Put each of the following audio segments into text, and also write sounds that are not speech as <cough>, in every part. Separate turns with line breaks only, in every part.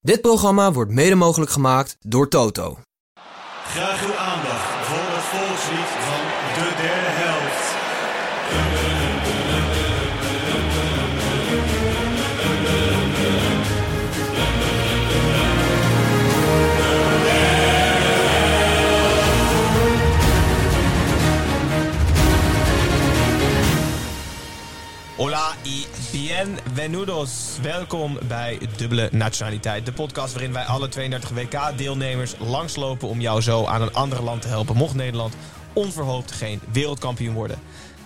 Dit programma wordt mede mogelijk gemaakt door Toto.
Graag uw aandacht voor het volkslied van de derde helft.
Hola y bienvenidos. Welkom bij Dubbele Nationaliteit. De podcast waarin wij alle 32 WK-deelnemers langslopen om jou zo aan een ander land te helpen. Mocht Nederland onverhoopt geen wereldkampioen worden.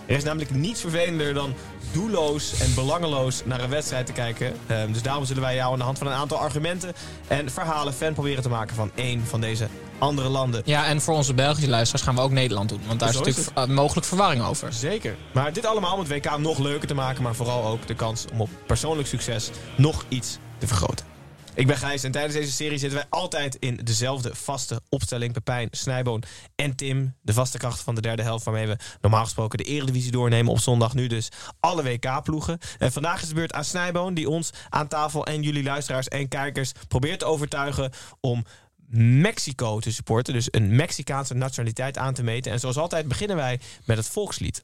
Er is namelijk niets vervelender dan doelloos en belangeloos naar een wedstrijd te kijken. Ehm, dus daarom zullen wij jou aan de hand van een aantal argumenten en verhalen fan proberen te maken van één van deze andere landen.
Ja, en voor onze Belgische luisteraars gaan we ook Nederland doen. Want daar is
Zo is
natuurlijk eh, mogelijk verwarring over.
Zeker. Maar dit allemaal om het WK nog leuker te maken, maar vooral ook de kans om op persoonlijk succes nog iets te vergroten. Ik ben Gijs en tijdens deze serie zitten wij altijd in dezelfde vaste opstelling. Pepijn, Snijboon en Tim, de vaste kracht van de derde helft... waarmee we normaal gesproken de Eredivisie doornemen op zondag. Nu dus alle WK-ploegen. En vandaag is de beurt aan Snijboon, die ons aan tafel en jullie luisteraars en kijkers... probeert te overtuigen om Mexico te supporten. Dus een Mexicaanse nationaliteit aan te meten. En zoals altijd beginnen wij met het volkslied.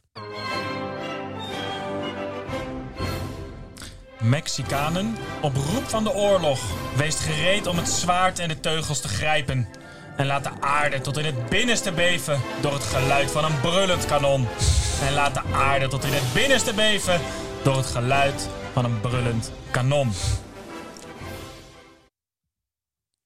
Mexicanen, op roep van de oorlog, weest gereed om het zwaard en de teugels te grijpen. En laat de aarde tot in het binnenste beven door het geluid van een brullend kanon. En laat de aarde tot in het binnenste beven door het geluid van een brullend kanon.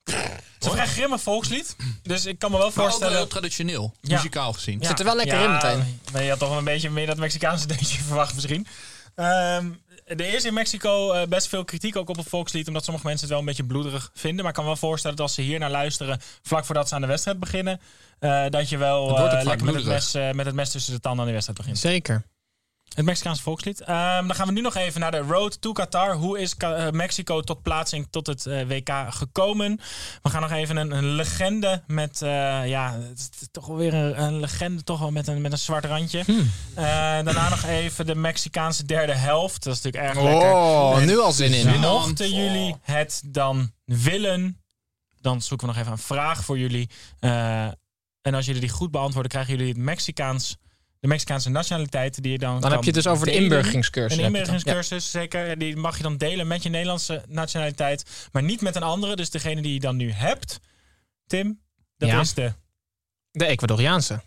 Het is een vrij grimmig volkslied, dus ik kan me
Nou,
wel
Maar ook wel
voorstellen...
heel traditioneel,
Ja.
muzikaal gezien.
Ja.
Zit er wel lekker in meteen.
Maar je had toch wel een beetje meer dat Mexicaanse <laughs> deuntje verwacht misschien. Ehm, er is in Mexico eh, best veel kritiek ook op het volkslied, omdat sommige mensen het wel een beetje bloederig vinden. Maar ik kan me wel voorstellen dat als ze hier naar luisteren, vlak voordat ze aan de wedstrijd beginnen, eh, dat je wel
Dat wordt ook
eh,
vaak
lekker met het,
bloederig.
mes, eh, met het mes tussen de tanden aan de wedstrijd begint.
Zeker.
Het Mexicaanse volkslied. Ehm, dan gaan we nu nog even naar de Road to Qatar. Hoe is Ka- eh, Mexico tot plaatsing tot het eh, WK gekomen? We gaan nog even een, een legende met... eh, ja, het is toch wel weer een, een legende toch wel met, een, met een zwart randje. Eh, daarna nog even de Mexicaanse derde helft. Dat is natuurlijk erg
Oh,
lekker.
nu al zin in.
En mochten jullie het dan willen, dan zoeken we nog even een vraag voor jullie. Eh, en als jullie die goed beantwoorden, krijgen jullie het Mexicaans, de Mexicaanse nationaliteit die je dan
Dan heb je het dus over de inburgingscursus.
een
heb je het dan.
inburgeringscursus, zeker. En Die mag je dan delen met je Nederlandse nationaliteit, maar niet met een andere. Dus degene die je dan nu hebt, Tim, dat
Ja.
is de
Ja. De Ecuadoriaanse.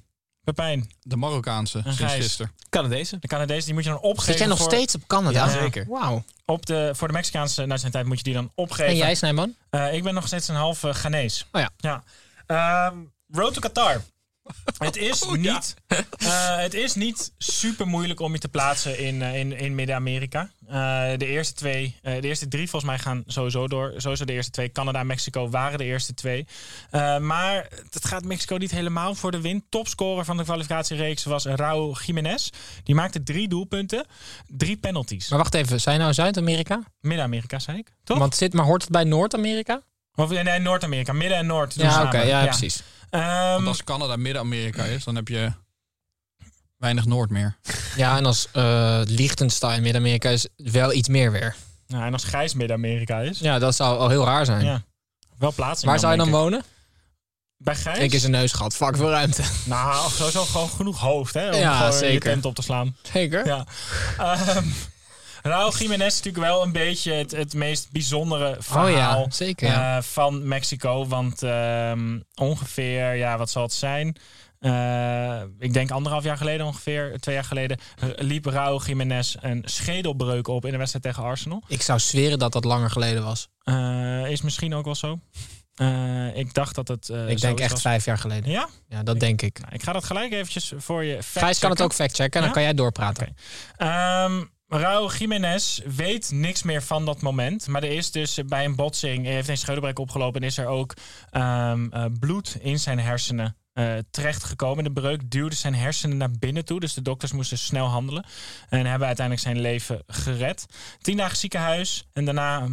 Pepijn,
De Marokkaanse, sinds
Gijs.
gisteren.
Canadese.
de Canadees. Die moet je dan opgeven.
Zit jij nog
voor,
steeds op Canada?
Ja, zeker.
Wauw.
Op de, voor de Mexicaanse nationaliteit moet je die dan opgeven.
En jij, Snijman?
Eh, ik ben nog steeds een halve Ghanese.
Oh ja.
ja. Ehm, Road to Qatar.
<laughs>
Het is,
Oh
niet, eh, het is niet super moeilijk om je te plaatsen in, eh, in, in Midden-Amerika. Eh, de eerste twee, eh, de eerste drie volgens mij gaan sowieso door. Sowieso de eerste twee. Canada en Mexico waren de eerste twee. Eh, maar het gaat Mexico niet helemaal voor de win. Topscorer van de kwalificatiereeks was Raúl Jiménez. Die maakte drie doelpunten, drie penalties.
Maar wacht even, zijn nou Zuid-Amerika?
Midden-Amerika, zei ik. Toch?
Want zit, maar hoort het bij Noord-Amerika?
Of, nee, Noord-Amerika. Midden en Noord. doen
Ja, oké,
samen.
ja, precies.
Ehm,
Want als Canada Midden-Amerika is, dan heb je weinig Noord meer.
Ja, en als eh Liechtenstein Midden-Amerika is wel iets meer weer.
nou, en als Gijs Midden-Amerika is,
Ja, dat zou al heel raar zijn.
Ja, wel plaatsing.
Waar zou je dan
denk
wonen?
ik. Bij Gijs?
Ik is een neusgat. Fuck, veel ruimte. <laughs>
Nou, sowieso gewoon genoeg hoofd, hè? Om
Ja,
gewoon je
zeker.
tent op te slaan.
Zeker.
Ja. Ehm <laughs> Raúl Jiménez is natuurlijk wel een beetje het, het meest bijzondere verhaal.
Oh ja, zeker. ja.
eh, van Mexico. Want ehm, ongeveer, ja, wat zal het zijn? Eh, ik denk anderhalf jaar geleden ongeveer, twee jaar geleden, eh, liep Raúl Jiménez een schedelbreuk op in de wedstrijd tegen Arsenal.
Ik zou zweren dat dat langer geleden was.
Eh, is misschien ook wel zo. Eh, ik dacht dat het. eh,
ik denk
zoiets
echt
was.
vijf jaar geleden.
Ja,
Ja, dat denk ik.
Nou, ik ga dat gelijk eventjes voor je.
Gijs kan het ook factchecken en dan
Ja?
kan jij doorpraten.
Ehm Raúl Jiménez weet niks meer van dat moment. Maar er is dus bij een botsing, hij heeft een schouderbreuk opgelopen... en is er ook ehm, eh, bloed in zijn hersenen eh terechtgekomen. De breuk duwde zijn hersenen naar binnen toe. Dus de dokters moesten snel handelen. En hebben uiteindelijk zijn leven gered. Tien dagen ziekenhuis en daarna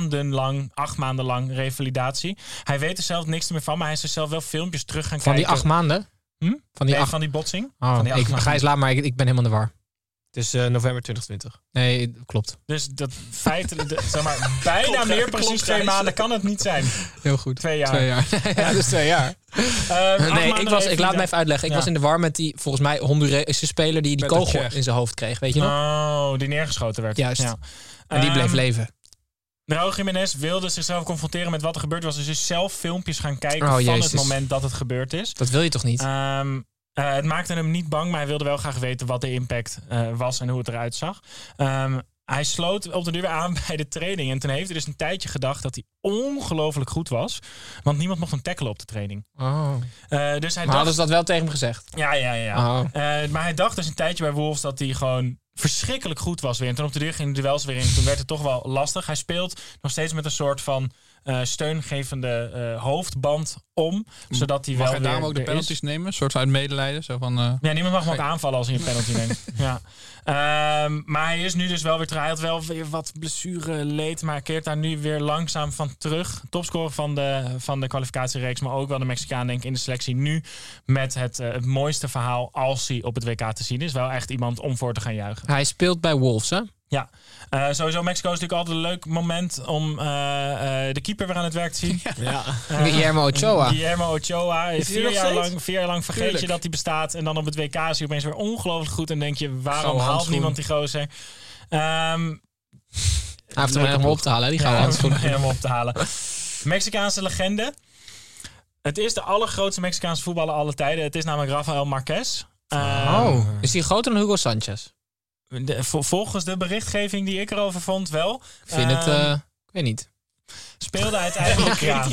maandenlang, acht maanden lang revalidatie. Hij weet er zelf niks meer van, maar hij is er zelf wel filmpjes terug gaan
Van die
kijken.
acht maanden?
Hm?
Van die
Nee,
acht...
van die botsing.
Oh,
van die acht
ik,
maanden.
Gijs, laat maar. Ik, ik ben helemaal in de war.
Het is eh, november 2020.
Nee, klopt.
Dus dat feitelijk, de- zeg maar, bijna
Klopt,
meer
klopt,
precies
Gijs.
twee maanden kan het niet zijn.
Heel goed.
Twee jaar.
Twee jaar. <laughs> ja, dus twee jaar.
Eh, acht
Nee, ik,
maanden
was,
heeft
ik laat
hij
me even uitleggen. Ik
Ja.
was in de war met die, volgens mij, Hondurese speler die die
Met de
kogel
Tsjech.
in zijn hoofd kreeg. Weet je
dan-
nog?
Nou,
Oh, die neergeschoten werd.
Juist.
Ja.
en die bleef
Ehm,
leven.
Raúl Jiménez wilde zichzelf confronteren met wat er gebeurd was. Dus is zelf filmpjes gaan kijken
Oh,
van
jezus.
het moment dat het gebeurd is.
Dat wil je toch niet?
Ehm, eh, het maakte hem niet bang, maar hij wilde wel graag weten wat de impact eh, was en hoe het eruit zag. Ehm, hij sloot op de duur weer aan <laughs> bij de training. En toen heeft hij dus een tijdje gedacht dat hij ongelooflijk goed was. Want niemand mocht hem tackelen op de training.
oh.
Eh, dus hij
Maar hadden
dacht...
ze dat wel tegen hem gezegd?
Ja, ja, ja.
Oh.
Ah.
Eh, maar hij dacht dus een tijdje bij Wolves dat hij gewoon verschrikkelijk goed was weer. En toen op de deur ging de duels weer in. Toen werd het toch wel lastig. Hij speelt nog steeds met een soort van eh, steungevende eh, hoofdband om. Zodat hij
Mm. Mag
wel
hij
weer
daarom ook de
er is.
penalties nemen? Een soort uit medelijden. Zo van, eh,
Ja, niemand mag hem ook aanvallen als hij een penalty neemt. Ja. Ehm, maar hij is nu dus wel weer terug. Hij had wel weer wat blessure leed, maar keert daar nu weer langzaam van terug. Topscorer van de, van de kwalificatiereeks, maar ook wel de Mexicaan denk ik in de selectie nu. Met het, eh, het mooiste verhaal als hij op het WK te zien is. Wel echt iemand om voor te gaan juichen.
Hij speelt bij Wolves, hè?
Eh, sowieso, Mexico is natuurlijk altijd een leuk moment om eh, eh, de keeper weer aan het werk te zien.
Ja.
Eh,
<laughs> Guillermo Ochoa.
Guillermo Ochoa.
Is hij er
vier,
nog
jaar
steeds?
lang, vier jaar lang vergeet je
Tuurlijk.
dat hij bestaat. En dan op het WK is hij opeens weer ongelooflijk goed. En denk je, waarom
Gouden
haalt
handschoen.
niemand die gozer? Ehm
Hij heeft hem
Leuke
helemaal
ploeg.
op te halen, hè, die gouden
ja,
handschoen.
om
<laughs>
hem op te halen. Mexicaanse legende. Het is de allergrootste Mexicaanse voetballer aller tijden. Het is namelijk Rafael Marquez. Ehm,
Oh. Is hij groter dan Hugo Sanchez?
de- vol- volgens de berichtgeving die ik erover vond wel.
Ik vind het,
Ehm,
eh, ik weet niet.
Speelde uiteindelijk... ja.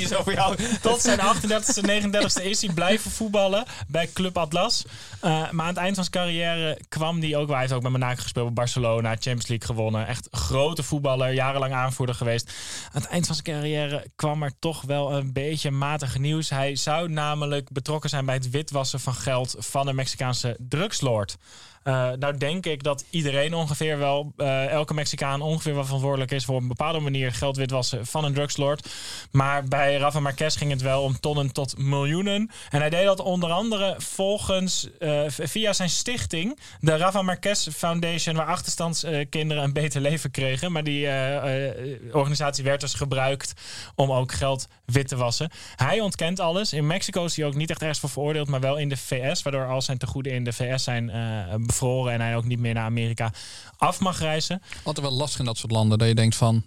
Tot zijn 38e, 39e is hij blijven voetballen bij Club Atlas. Eh, maar aan het eind van zijn carrière kwam hij ook... wel. Hij heeft ook bij Monaco gespeeld, bij Barcelona, Champions League gewonnen. Echt grote voetballer, jarenlang aanvoerder geweest. Aan het eind van zijn carrière kwam er toch wel een beetje matig nieuws. Hij zou namelijk betrokken zijn bij het witwassen van geld van een Mexicaanse drugslord. Eh, nou denk ik dat iedereen ongeveer wel, eh, elke Mexicaan ongeveer wel verantwoordelijk is voor op een bepaalde manier geld witwassen van een drugslord. Maar bij Rafa Marquez ging het wel om tonnen tot miljoenen. En hij deed dat onder andere volgens, eh, v- via zijn stichting, de Rafa Marquez Foundation, waar achterstandskinderen een beter leven kregen. Maar die eh, eh, organisatie werd dus gebruikt om ook geld wit te wassen. Hij ontkent alles. In Mexico is hij ook niet echt ergens voor veroordeeld, maar wel in de VS. Waardoor al zijn tegoeden in de VS zijn eh, bevroren en hij ook niet meer naar Amerika af mag reizen.
altijd wel lastig in dat soort landen. Dat je denkt van,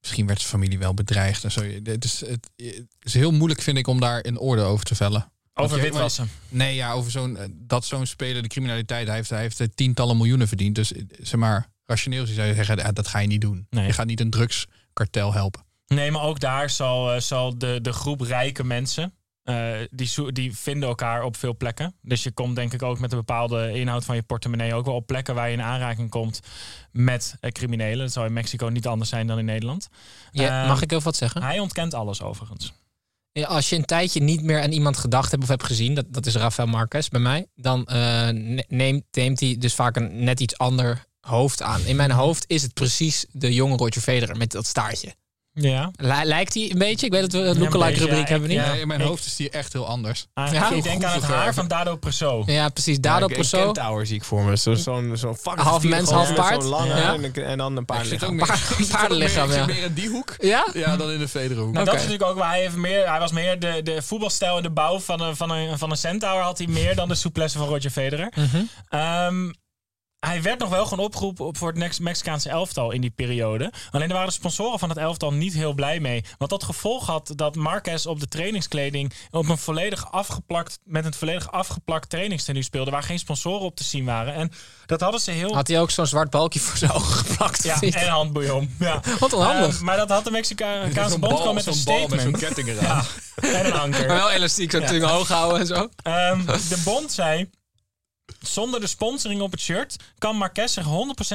misschien werd zijn familie wel bedreigd. En zo. Het, is, het, het is heel moeilijk, vind ik, om daar een oordeel over te vellen.
Over
Oké,
witwassen.
Nee, ja, over zo'n, eh, dat zo'n speler de criminaliteit hij heeft. Hij heeft eh, tientallen miljoenen verdiend. Dus eh, zeg maar, rationeel gezien zou je zeggen, eh, dat ga je niet doen.
Nee.
Je gaat niet een drugskartel helpen.
Nee, maar ook daar zal, eh, zal de, de groep rijke mensen. eh, die, zo- die vinden elkaar op veel plekken. Dus je komt denk ik ook met een bepaalde inhoud van je portemonnee ook wel op plekken waar je in aanraking komt met eh, criminelen. Dat zou in Mexico niet anders zijn dan in Nederland.
Ja,
ehm,
mag ik heel wat zeggen?
Hij ontkent alles overigens.
Ja, Als je een tijdje niet meer aan iemand gedacht hebt of hebt gezien, dat, dat is Rafael Marquez bij mij, dan eh, ne- neemt, neemt hij dus vaak een net iets ander hoofd aan. In mijn hoofd is het precies de jonge Roger Federer met dat staartje.
Ja.
Li- lijkt hij een beetje? Ik weet dat we een
Ja, een
lookalike
beetje,
rubriek
ja,
hebben we
ik-
niet.
Ja,
nee, in mijn
ik-
hoofd is die echt heel anders.
Ah,
Ja, eh,
ik denk aan het
groeviger.
haar van Dado Presso. Nou,
Ja, precies. Daarop
Ja, ik-
persoon.
Een tower zie ik voor me. Zo- Zo'n zo'n fucking
Half
vier
mens,
gozer
half
met
paard.
Zo'n lange
Ja.
en, een- en dan een
Ik
paar
zit
lichaam.
ook
<laughs>
meer,
Paar-
ik zit ook meer-
paardenlichaam,
ik zit
ja.
meer in die hoek
Ja?
ja, dan in de Federhoek.
Nou,
Oké.
dat is natuurlijk ook waar hij heeft meer. Hij was meer de, de voetbalstijl en de bouw van een, van een, van een centaur had hij meer dan de souplesse van Roger Federer.
Mhm.
Ehm, hij werd nog wel gewoon opgeroepen op voor het Nex- Mexicaanse elftal in die periode. Alleen daar waren de sponsoren van het elftal niet heel blij mee. Want dat gevolg had dat Marquez op de trainingskleding op een volledig afgeplakt, met een volledig afgeplakt trainingstenue speelde. Waar geen sponsoren op te zien waren. En dat hadden ze heel.
Had hij ook zo'n zwart balkje voor zijn ogen geplakt? <laughs>
ja,
of niet?
en handboeien. Ja.
Wat onhandig.
Ehm, maar dat had de Mexicaanse
Zo'n
bond
bal-
gewoon met een
zo'n bal
statement.
met zo'n ketting eraan.
en een anker.
<laughs> maar wel elastiek, zo'n tuing hoog houden en zo.
Ehm, de bond zei... Zonder de sponsoring op het shirt kan Marquez zich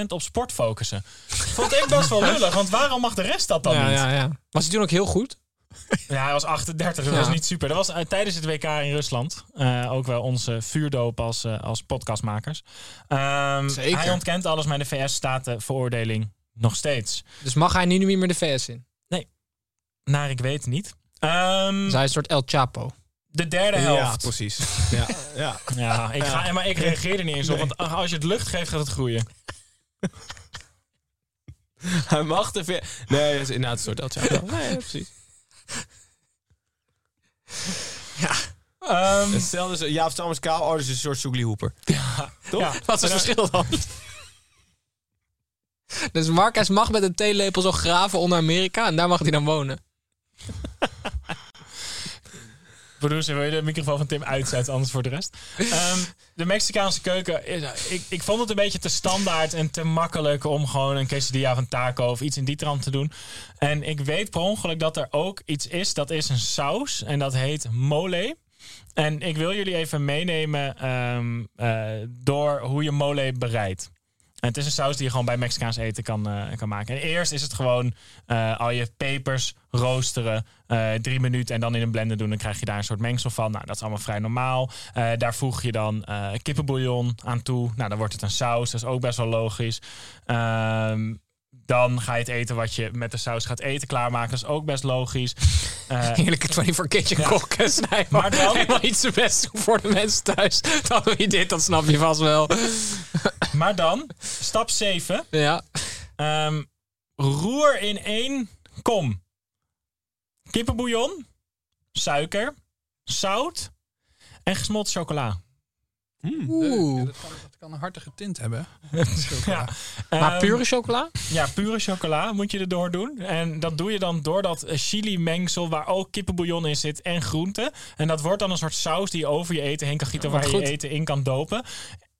100% op sport focussen. Vond ik best wel lullig, want waarom mag de rest dat dan
Ja,
niet? Ja.
ja, ja. Was hij toen ook heel goed?
hij was 38, dat
Ja.
was niet super. Dat was eh, tijdens het WK in Rusland. eh, ook wel onze vuurdoop als, eh, als podcastmakers. Ehm,
Zeker.
Hij ontkent alles, maar in de VS staat de veroordeling nog steeds.
Dus mag hij nu niet meer de VS in?
Naar ik weet niet. Ehm,
Dus hij is een soort El Chapo.
de derde
Ja, <laughs>
helft.
precies. Ja, ja.
Ja, ik ga, maar ik reageer er niet eens op. Want als je het lucht geeft, gaat het groeien.
Hij mag te veel. Nee, dat is inderdaad een soort dat. Ja, Nee, precies.
Ehm,
Hetzelfde is, Jaap Thomas Kaal, oh, dat is een soort Soegli Hoeper. Toch?
ja.
Wat is het verschil dan? <laughs> Dus Marques mag met een theelepel zo graven onder Amerika en daar mag hij dan wonen.
Producer, wil je de microfoon van Tim uitzetten, anders voor de rest. Ehm, de Mexicaanse keuken, eh, ik, ik vond het een beetje te standaard en te makkelijk om gewoon een quesadilla van taco of iets in die trant te doen. En ik weet per ongeluk dat er ook iets is, dat is een saus en dat heet mole. En ik wil jullie even meenemen ehm, eh, door hoe je mole bereidt. En het is een saus die je gewoon bij Mexicaans eten kan, eh, kan maken. En eerst is het gewoon eh, al je pepers roosteren. eh, drie minuten en dan in een blender doen. Dan krijg je daar een soort mengsel van. Nou, dat is allemaal vrij normaal. Eh, daar voeg je dan eh, kippenbouillon aan toe. Nou, dan wordt het een saus. Dat is ook best wel logisch. Ehm, dan ga je het eten wat je met de saus gaat eten klaarmaken. Dat is ook best logisch. Eh,
<laughs> Heerlijke 24 kitchen
Ja.
kok. hè, Snijman.
Maar dan-
helemaal iets te best doen voor de mensen thuis. Dan doe je dit, dat snap je vast wel.
maar dan, stap 7.
Ja.
Ehm, roer in één kom. Kippenbouillon, suiker, zout en gesmolten chocola.
Oeh.
dat, kan, dat kan een hartige tint hebben.
Ja.
Maar
Ehm,
pure chocola?
Ja, pure chocola moet je erdoor doen. En dat doe je dan door dat eh, chili-mengsel waar ook kippenbouillon in zit en groenten. En dat wordt dan een soort saus die je over je eten heen kan gieten, waar
wat
je
Oh, goed.
je eten in kan dopen.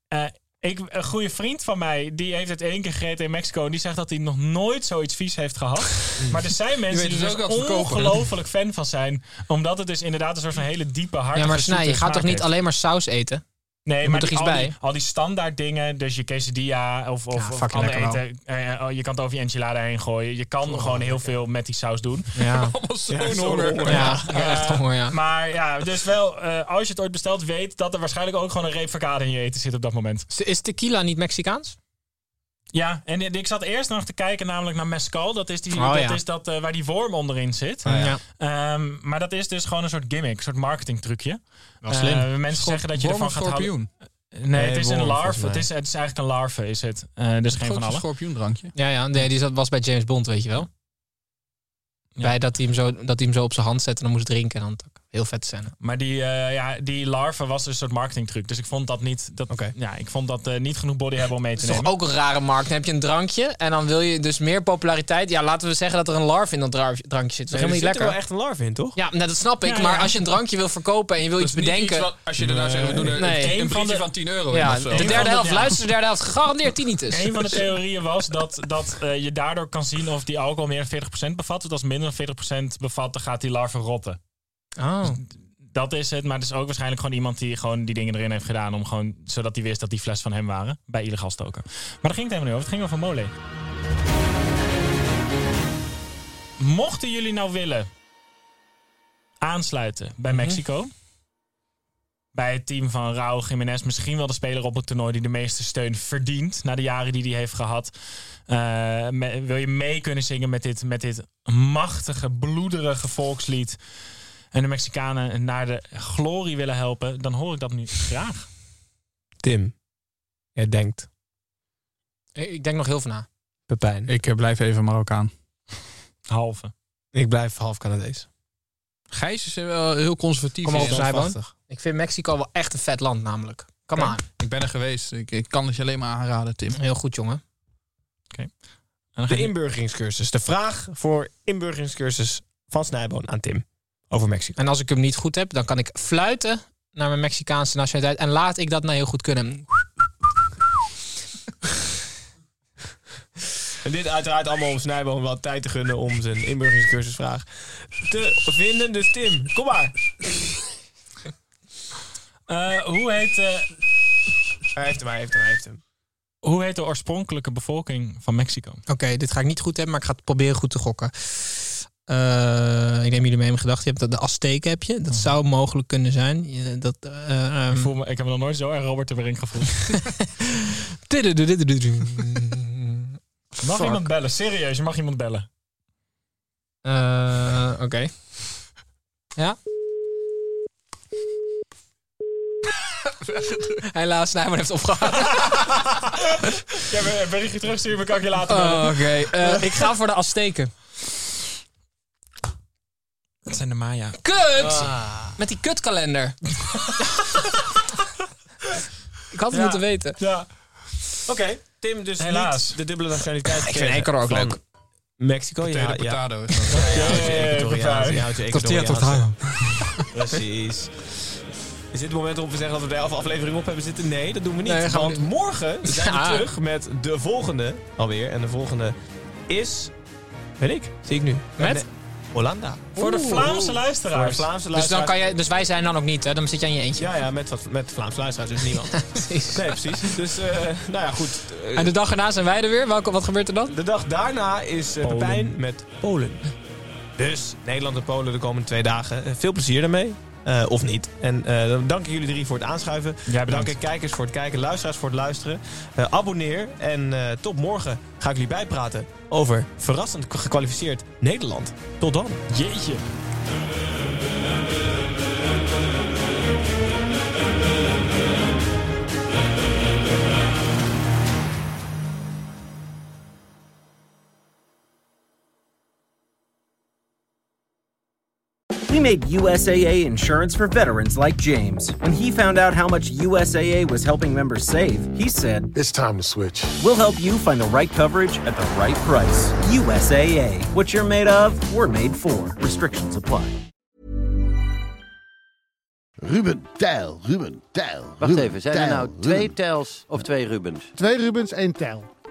Eh, ik, een goede vriend van mij, die heeft het één keer gegeten in Mexico. En die zegt dat hij nog nooit zoiets vies heeft
<laughs>
gehad. Maar er zijn mensen
weet
die
dus
er
ook dat verkopen.
ongelooflijk fan van zijn. Omdat het dus inderdaad een soort van hele diepe, harde
Ja, maar snij, je gaat toch niet alleen maar saus eten?
Nee,
Er
maar
moet
die-
toch
al,
iets
Die,
bij?
al die standaard dingen, dus je quesadilla of,
Ja,
of, of
fucking
ander
lekker wel.
eten. eh, eh, je kan het over je enchilada heen gooien. Je kan gewoon heel veel met die saus doen.
<laughs> Ja.
Zo'n honger.
Ja, ik heb echt honger, ja.
Eh, Maar ja, dus wel, eh, als je het ooit bestelt, weet dat er waarschijnlijk ook gewoon een reep verkade in je eten zit op dat moment.
Is tequila niet Mexicaans?
Ja, en ik zat eerst nog te kijken namelijk naar mescal. Dat is, die,
Oh,
dat
ja. Oh,
is dat, eh, waar die worm onderin zit.
ja.
Ehm, maar dat is dus gewoon een soort gimmick, een soort marketing trucje.
Wel slim.
mensen zeggen dat je
Worm
ervan
of
gaat houden. Eh,
schorpioen.
Nee, het is een
worm, volgens
larve.
mij.
Het is, het is eigenlijk een larve, is het. Eh, dus geen van
Grootste
allen.
schorpioendrankje.
Ja, ja, nee, die zat- was bij James Bond, weet je wel. Bij dat hij, hem zo, dat hij hem zo op zijn hand zette en dan moest drinken. En dan tak. heel vet scène.
Maar die, eh, ja, die larve was dus een soort marketingtruc. Dus ik vond dat niet. Dat,
Oké.
ja, ik vond dat eh, niet genoeg body hebben om mee te
Het is
nemen.
toch ook een rare markt. Dan heb je een drankje en dan wil je dus meer populariteit. Ja, laten we zeggen dat er een larve in dat drankje zit. Dat is
Er
helemaal
zit
niet
er wel
lekker.
echt een larve in, toch?
Ja, nou, dat snap ik.
Ja,
maar
ja.
als je een drankje wil verkopen en je wil iets bedenken...
als je daarna zegt, we doen er
Nee.
een
Een van
briefje
de-
van 10 euro in
ja,
of zo.
de
van
derde
de-
helft,
ja.
luister de derde helft. Gegarandeerd tinnitus.
Een van de theorieën was dat, dat eh, je daardoor kan zien of die alcohol meer dan 40% bevat. Want als minder dan 40% bevat, dan gaat die larve
<laughs>
rotten.
Oh.
Dat is het, maar het is ook waarschijnlijk gewoon iemand die gewoon die dingen erin heeft gedaan. Om gewoon, zodat hij wist dat die fles van hem waren. Bij illegaal stoken. Maar daar ging het helemaal niet over. Het ging over mole. Mochten jullie nou willen aansluiten bij Mexico. Bij het team van Raúl Jiménez. Misschien wel de speler op het toernooi die de meeste steun verdient. Na de jaren die hij heeft gehad. Eh, me- wil je mee kunnen zingen met dit, met dit machtige, bloederige volkslied. En de Mexicanen naar de glorie willen helpen. Dan hoor ik dat nu graag.
Tim. Jij denkt.
Ik ik denk nog heel veel na.
Pepijn. Ik,
Ik eh, blijf even Marokkaan.
Halve.
ik blijf half Canadees.
Gijs is wel heel conservatief.
Kom maar op,
en
Zijboon.
standvastig.
Ik vind Mexico wel echt een vet land namelijk. Come on.
Ik ben er geweest. Ik, ik kan het je alleen maar aanraden, Tim.
Heel goed, jongen.
En dan ga
De
je-
inburgeringscursus. De vraag voor inburgeringscursus van Snijboon aan Tim. Over Mexico.
En als ik hem niet goed heb, dan kan ik fluiten naar mijn Mexicaanse nationaliteit. En laat ik dat nou heel goed kunnen.
En dit uiteraard allemaal om Snijboon wat tijd te gunnen om zijn inburgeringscursusvraag te vinden. Dus Tim, kom maar.
Eh, hoe, heet, eh,
Hij heeft hem, hij heeft hem, hij heeft hem.
hoe heet de oorspronkelijke bevolking van Mexico?
Oké, dit ga ik niet goed hebben, maar ik ga het proberen goed te gokken. Eh, ik neem jullie mee in mijn gedachten. Je hebt dat- De Azteken heb je. Dat zou mogelijk kunnen zijn. Je- Dat, eh, ehm,
Ik, voel me, ik heb me nog nooit zo erg Robert de Brink gevoeld. Mag
Fuck.
iemand bellen? Serieus, je mag iemand bellen.
<laughs> Eh, Oké. <laughs> Ja? Helaas, Nijman heeft opgehaald.
Ja, we- een berichtje terugsturen, maar kan ik je later
Oh,
bellen.
Oké, Eh, ik ga voor de Azteken.
Dat zijn de Maya.
Kut! Met die
<laughs>
kutkalender. ik had het
Ja.
moeten weten.
Ja.
Oké, Tim, dus
Helaas.
niet de dubbele nationaliteit.
Ik vind Ecuador ook leuk.
Mexico, Oh ja.
Potato,
ja.
potato is dat.
Ecuador.
Je houdt je Ecuadoriaanse. Precies. Is dit het moment om te zeggen dat we de elf aflevering op hebben zitten? Nee, dat doen we niet.
Nee, gaan we
want
niet. <laughs>
morgen zijn we
Ja.
terug met de volgende alweer. En de volgende is... Weet ik, zie ik nu.
Met?
Nee, Hollanda.
Voor de Vlaamse
Voor de
luisteraars.
Vlaamse
Dus, dan
luisteraars.
Dus kan je, dus wij zijn dan ook niet, hè? Dan zit je in je eentje.
Ja, ja, met, wat, met Vlaamse luisteraars, dus niemand.
<laughs> Precies.
nee, precies. Dus, eh, nou ja, goed. Eh,
En de dag erna zijn wij er weer. Welke, wat gebeurt er dan?
De dag daarna is eh, Pepijn met Polen. Dus Nederland en Polen de komende twee dagen. Eh, veel plezier daarmee. Eh, of niet. En eh, dan dank ik jullie drie voor het aanschuiven.
Jij bedankt.
Dank ik kijkers voor het kijken, luisteraars voor het luisteren. Eh, abonneer en eh, tot morgen ga ik jullie bijpraten over verrassend k- gekwalificeerd Nederland. Tot dan.
Jeetje.
We made USAA insurance for veterans like James. When he found out how much USAA was helping members save, he said,
It's time to switch.
We'll help you find the right coverage at the right price. USAA. What you're made of, we're made for. Restrictions apply.
Ruben, tijl, Ruben, tijl.
Wacht
Ruben,
even, zijn er
Tijl,
nou
Ruben.
twee Tels of twee Rubens?
Twee Rubens, één tijl.